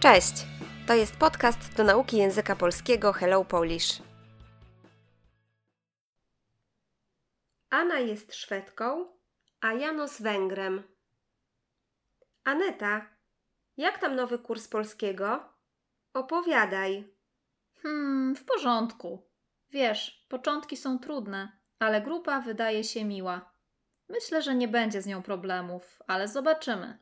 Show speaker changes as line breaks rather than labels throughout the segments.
Cześć! To jest podcast do nauki języka polskiego Hello Polish. Anna jest Szwedką, a Janos Węgrem. Aneta, jak tam nowy kurs polskiego? Opowiadaj.
Hmm, w porządku. Wiesz, początki są trudne, ale grupa wydaje się miła. Myślę, że nie będzie z nią problemów, ale zobaczymy.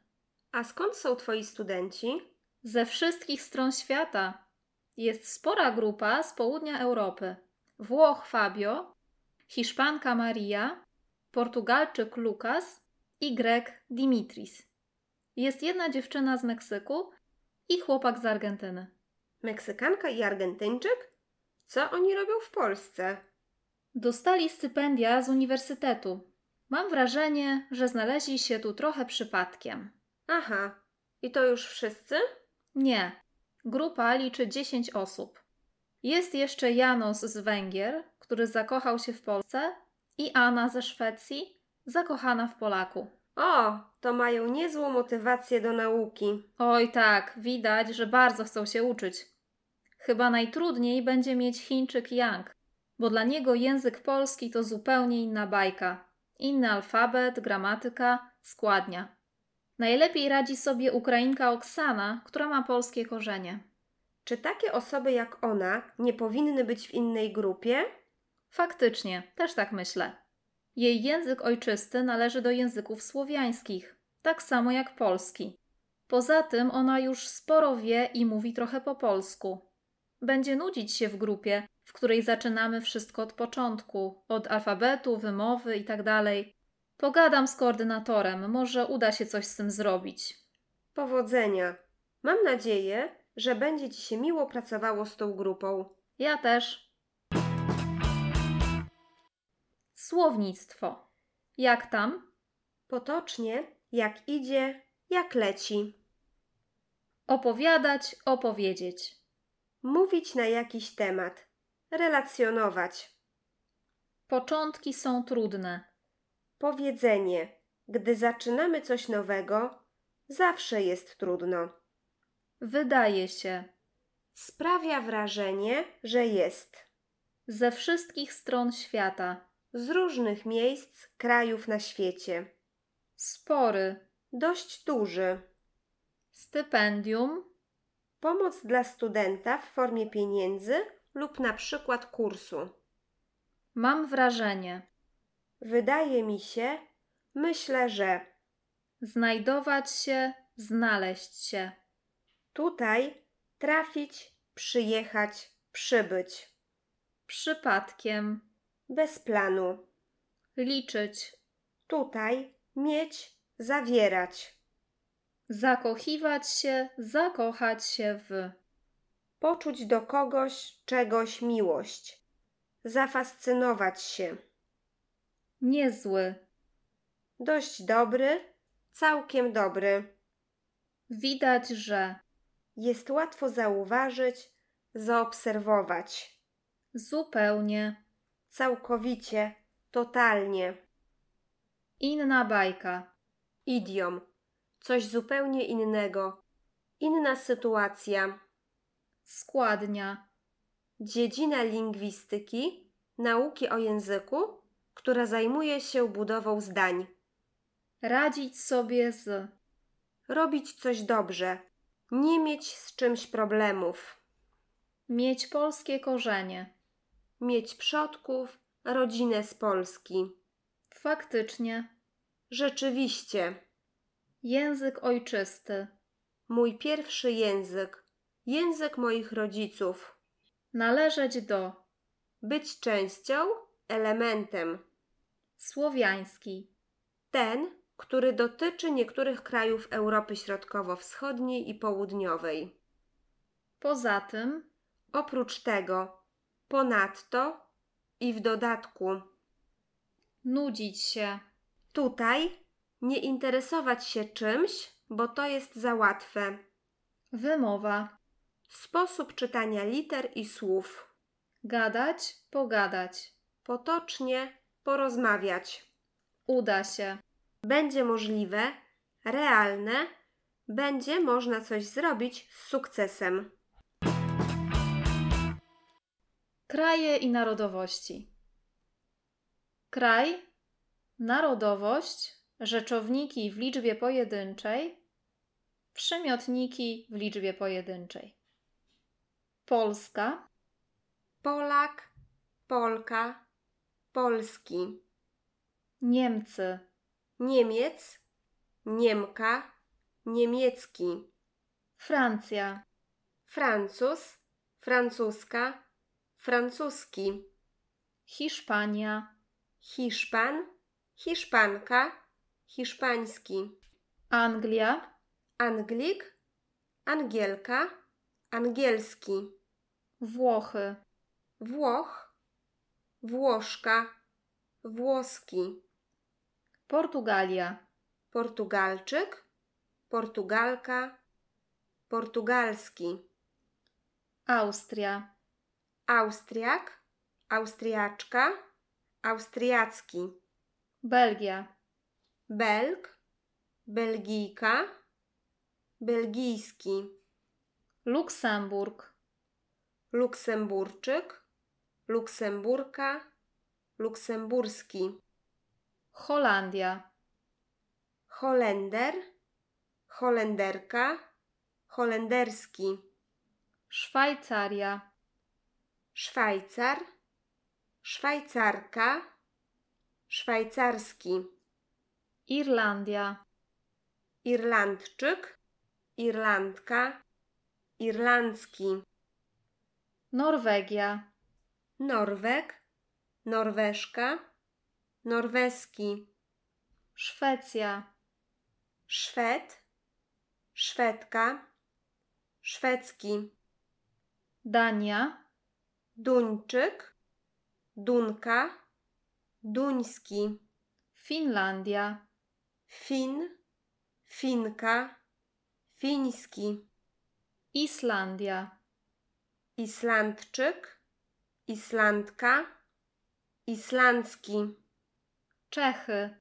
A skąd są twoi studenci?
Ze wszystkich stron świata jest spora grupa z południa Europy. Włoch Fabio, Hiszpanka Maria, Portugalczyk Lukas i Grek Dimitris. Jest jedna dziewczyna z Meksyku i chłopak z Argentyny.
Meksykanka i Argentyńczyk? Co oni robią w Polsce?
Dostali stypendia z uniwersytetu. Mam wrażenie, że znaleźli się tu trochę przypadkiem.
Aha, i to już wszyscy?
Nie, grupa liczy 10 osób. Jest jeszcze Janos z Węgier, który zakochał się w Polsce, i Anna ze Szwecji, zakochana w Polaku.
O, to mają niezłą motywację do nauki.
Oj tak, widać, że bardzo chcą się uczyć. Chyba najtrudniej będzie mieć Chińczyk Yang, bo dla niego język polski to zupełnie inna bajka. Inny alfabet, gramatyka, składnia. Najlepiej radzi sobie Ukrainka Oksana, która ma polskie korzenie.
Czy takie osoby jak ona nie powinny być w innej grupie?
Faktycznie, też tak myślę. Jej język ojczysty należy do języków słowiańskich, tak samo jak polski. Poza tym ona już sporo wie i mówi trochę po polsku. Będzie nudzić się w grupie, w której zaczynamy wszystko od początku, od alfabetu, wymowy itd. Pogadam z koordynatorem, może uda się coś z tym zrobić.
Powodzenia. Mam nadzieję, że będzie Ci się miło pracowało z tą grupą.
Ja też. Słownictwo. Jak tam?
Potocznie, jak idzie, jak leci.
Opowiadać, opowiedzieć.
Mówić na jakiś temat. Relacjonować.
Początki są trudne.
Powiedzenie. Gdy zaczynamy coś nowego, zawsze jest trudno.
Wydaje się.
Sprawia wrażenie, że jest.
Ze wszystkich stron świata.
Z różnych miejsc, krajów na świecie.
Spory.
Dość duży.
Stypendium.
Pomoc dla studenta w formie pieniędzy lub na przykład kursu.
Mam wrażenie.
Wydaje mi się, myślę, że
Znajdować się, znaleźć się.
tutaj trafić, przyjechać, przybyć.
Przypadkiem.
Bez planu.
Liczyć.
Tutaj mieć, zawierać.
Zakochiwać się, zakochać się w.
Poczuć do kogoś, czegoś miłość. Zafascynować się.
Niezły.
Dość dobry, całkiem dobry.
Widać, że.
jest łatwo zauważyć, zaobserwować.
Zupełnie.
Całkowicie, totalnie.
Inna bajka.
Idiom. Coś zupełnie innego. Inna sytuacja.
Składnia.
Dziedzina lingwistyki, nauki o języku, która zajmuje się budową zdań.
Radzić sobie z.
Robić coś dobrze. Nie mieć z czymś problemów.
Mieć polskie korzenie.
Mieć przodków, rodzinę z Polski.
Faktycznie.
Rzeczywiście.
Język ojczysty.
Mój pierwszy język. Język moich rodziców.
Należeć do.
Być częścią, elementem.
Słowiański.
Ten, który dotyczy niektórych krajów Europy Środkowo-Wschodniej i Południowej.
Poza tym.
Oprócz tego, ponadto i w dodatku.
Nudzić się.
Tutaj nie interesować się czymś, bo to jest za łatwe.
Wymowa.
Sposób czytania liter i słów.
Gadać, pogadać.
Potocznie porozmawiać.
Uda się.
będzie możliwe, realne Będzie można coś zrobić z sukcesem.
Kraje i narodowości. Kraj, narodowość, rzeczowniki w liczbie pojedynczej, przymiotniki w liczbie pojedynczej. Polska,
Polak, Polka, Polski.
Niemcy,
Niemiec, Niemka, Niemiecki.
Francja,
Francuz, Francuska, Francuski.
Hiszpania,
Hiszpan, Hiszpanka, Hiszpański.
Anglia,
Anglik, Angielka, Angielski.
Włochy,
Włoch, Włoszka, Włoski.
Portugalia,
Portugalczyk, Portugalka, Portugalski.
Austria,
Austriak, Austriaczka, Austriacki.
Belgia,
Belg, Belgijka, Belgijski.
Luksemburg,
Luksemburczyk, Luksemburka, Luksemburski.
Holandia,
Holender, Holenderka, Holenderski.
Szwajcaria,
Szwajcar, Szwajcarka, Szwajcarski.
Irlandia.
Irlandczyk, Irlandka, Irlandzki.
Norwegia,
Norwek, Norweszka, Norweski.
Szwecja,
Szwed, Szwedka, Szwedzki.
Dania,
Duńczyk, Dunka, Duński.
Finlandia,
Fin, Finka, Fiński.
Islandia,
Islandczyk, Islandka, Islandzki.
Czechy,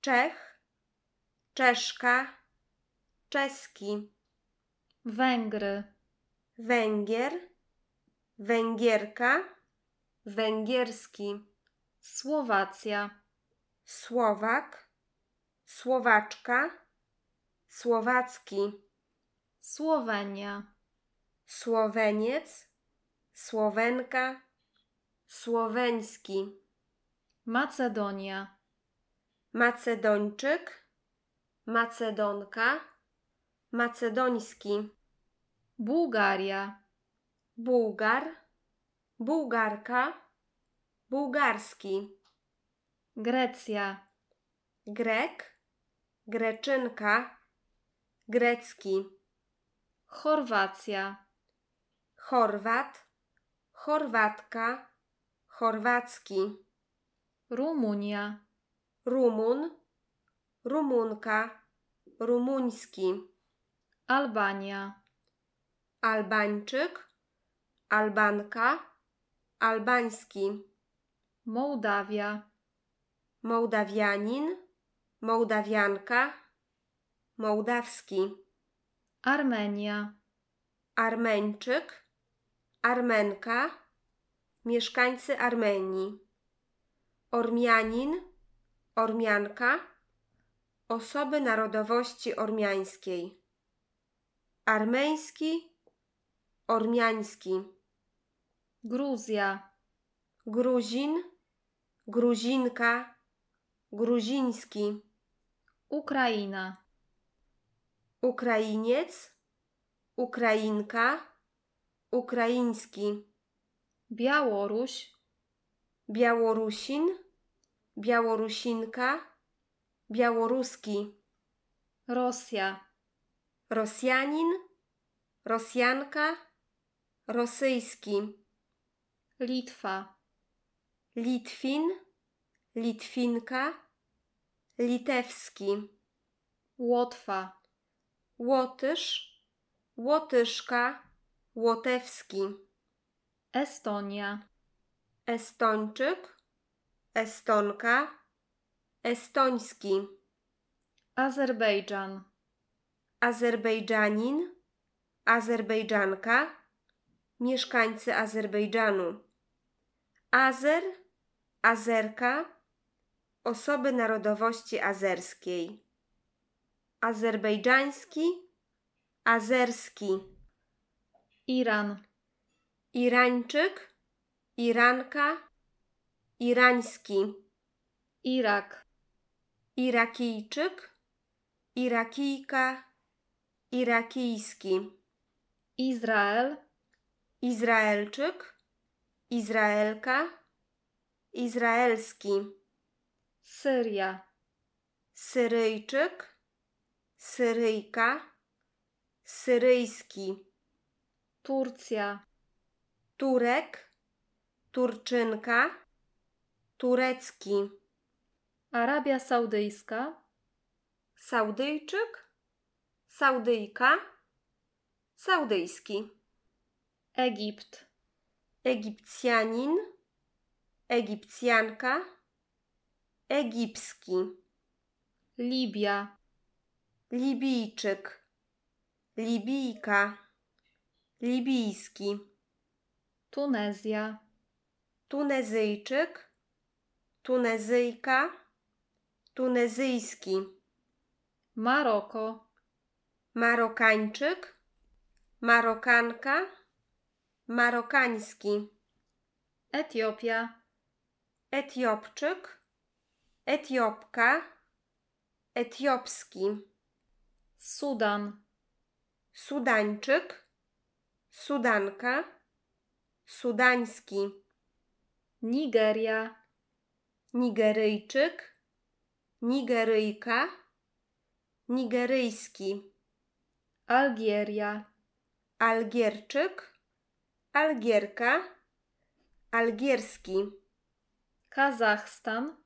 Czech, Czeszka, Czeski.
Węgry,
Węgier, Węgierka, Węgierski.
Słowacja,
Słowak, Słowaczka, Słowacki.
Słowenia,
Słoweniec, Słowenka, Słoweński.
Macedonia,
Macedończyk, Macedonka, Macedoński.
Bułgaria,
Bułgar, Bułgarka, Bułgarski.
Grecja,
Grek, Greczynka, Grecki.
Chorwacja,
Chorwat, Chorwatka, Chorwacki.
Rumunia,
Rumun, Rumunka, Rumuński.
Albania,
Albańczyk, Albanka, Albański.
Mołdawia,
Mołdawianin, Mołdawianka, Mołdawski.
Armenia,
Armeńczyk, Armenka, mieszkańcy Armenii. Ormianin, Ormianka, osoby narodowości ormiańskiej. Armeński, Ormiański.
Gruzja,
Gruzin, Gruzinka, Gruziński.
Ukraina,
Ukrainiec, Ukrainka, Ukraiński.
Białoruś,
Białorusin, Białorusinka, Białoruski,
Rosja.
Rosjanin, Rosjanka, Rosyjski,
Litwa,
Litwin, Litwinka, Litewski,
Łotwa,
Łotysz, Łotyszka, Łotewski,
Estonia,
Estończyk, Estonka, Estoński,
Azerbejdżan,
Azerbejdżanin, Azerbejdżanka, mieszkańcy Azerbejdżanu. Azer, Azerka, osoby narodowości azerskiej. Azerbejdżański, azerski,
Iran,
Irańczyk, Iranka, irański,
Irak,
Irakijczyk, Irakijka, irakijski.
Izrael,
Izraelczyk, Izraelka, Izraelski,
Syria,
Syryjczyk, Syryjka, Syryjski,
Turcja,
Turek, Turczynka, Turecki,
Arabia Saudyjska,
Saudyjczyk, Saudyjka, Saudyjski,
Egipt,
Egipcjanin, Egipcjanka, Egipski.
Libia,
Libijczyk, Libijka, Libijski,
Tunezja,
Tunezyjczyk, Tunezyjka, Tunezyjski,
Maroko,
Marokańczyk, Marokanka, Marokański,
Etiopia,
Etiopczyk, Etiopka, Etiopski,
Sudan,
Sudańczyk, Sudanka, Sudański.
Nigeria,
Nigeryjczyk, Nigeryjka, Nigeryjski,
Algieria,
Algierczyk, Algierka, Algierski,
Kazachstan,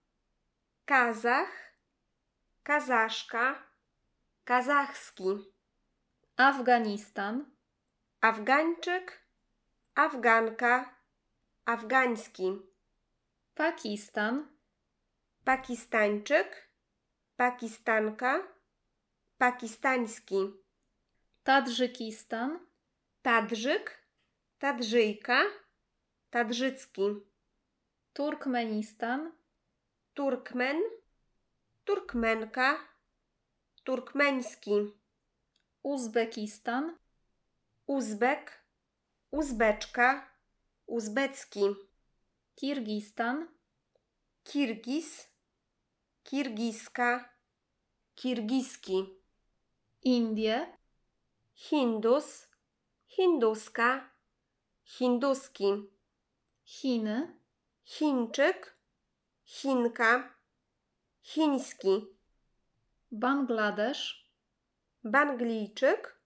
Kazach, Kazaszka, Kazachski,
Afganistan,
Afgańczyk, Afganka, Afgański,
Pakistan,
Pakistańczyk, Pakistanka, Pakistański.
Tadżykistan,
Tadrzyk, Tadrzyjka, Tadrzycki,
Turkmenistan,
Turkmen, Turkmenka, Turkmeński,
Uzbekistan,
Uzbek, Uzbeczka, Uzbecki,
Kirgistan,
Kirgiz, Kirgiska, Kirgiski,
Indie,
Hindus, Hinduska, Hinduski,
Chiny,
Chińczyk, Chinka, Chiński.
Bangladesz,
Banglijczyk,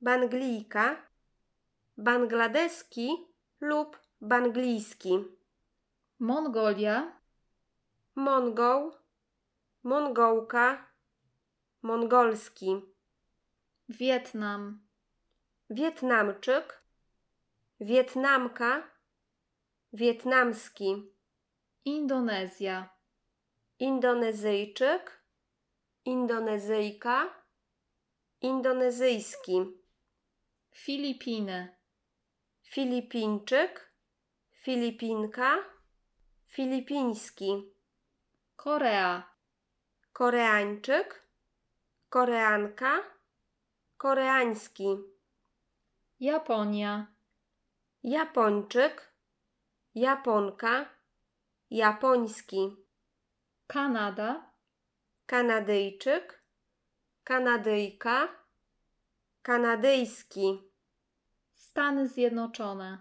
Banglijka, Bangladeski lub Banglijski,
Mongolia,
Mongoł, Mongołka, Mongolski,
Wietnam,
Wietnamczyk, Wietnamka, Wietnamski,
Indonezja,
Indonezyjczyk, Indonezyjka, Indonezyjski.
Filipiny,
Filipińczyk, Filipinka, Filipiński,
Korea,
Koreańczyk, Koreanka, Koreański,
Japonia,
Japończyk, Japonka, Japoński,
Kanada,
Kanadyjczyk, Kanadyjka, Kanadyjski,
Stany Zjednoczone,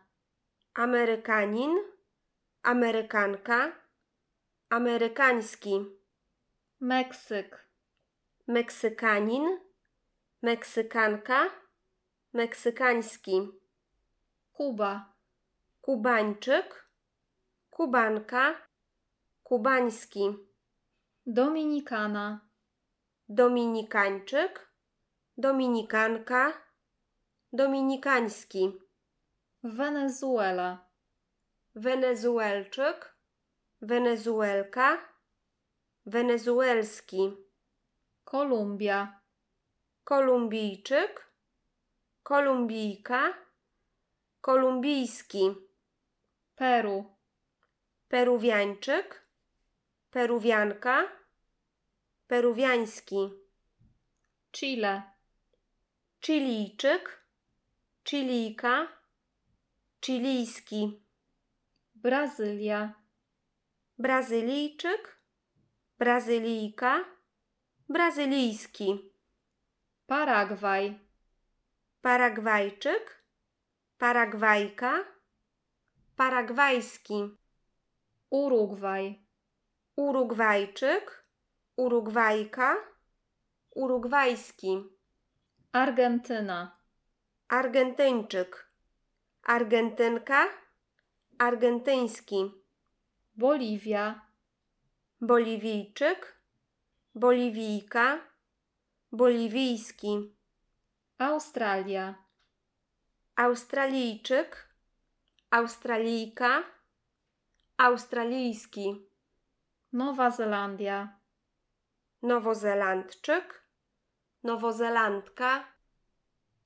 Amerykanin, Amerykanka, Amerykański.
Meksyk,
Meksykanin, Meksykanka, Meksykański,
Kuba,
Kubańczyk, Kubanka, Kubański,
Dominikana,
Dominikańczyk, Dominikanka, Dominikański,
Wenezuela,
Wenezuelczyk, Wenezuelka, Wenezuelski,
Kolumbia,
Kolumbijczyk, Kolumbijka, Kolumbijski,
Peru,
Peruwiańczyk, Peruwianka, Peruwiański,
Chile,
Chilijczyk, Chilijka, Chilijski,
Brazylia,
Brazylijczyk, Brazylijka, Brazylijski,
Paragwaj,
Paragwajczyk, Paragwajka, Paragwajski.
Urugwaj,
Urugwajczyk, Urugwajka, Urugwajski,
Argentyna,
Argentyńczyk, Argentynka, Argentyński,
Boliwia,
Boliwijczyk, Boliwijka, Boliwijski,
Australia,
Australijczyk, Australijka, Australijski,
Nowa Zelandia,
Nowozelandczyk, Nowozelandka,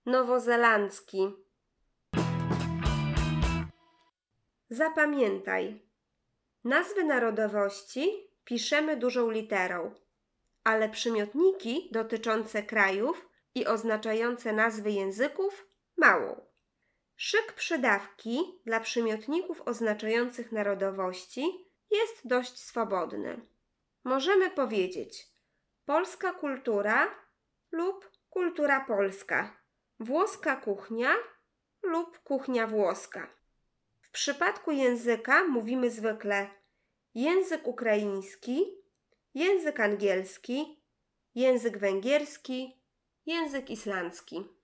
Nowozelandzki. Zapamiętaj. Nazwy narodowości piszemy dużą literą, ale przymiotniki dotyczące krajów i oznaczające nazwy języków małą. Szyk przydawki dla przymiotników oznaczających narodowości jest dość swobodny. Możemy powiedzieć polska kultura lub kultura polska, włoska kuchnia lub kuchnia włoska. W przypadku języka mówimy zwykle język ukraiński, język angielski, język węgierski, język islandzki.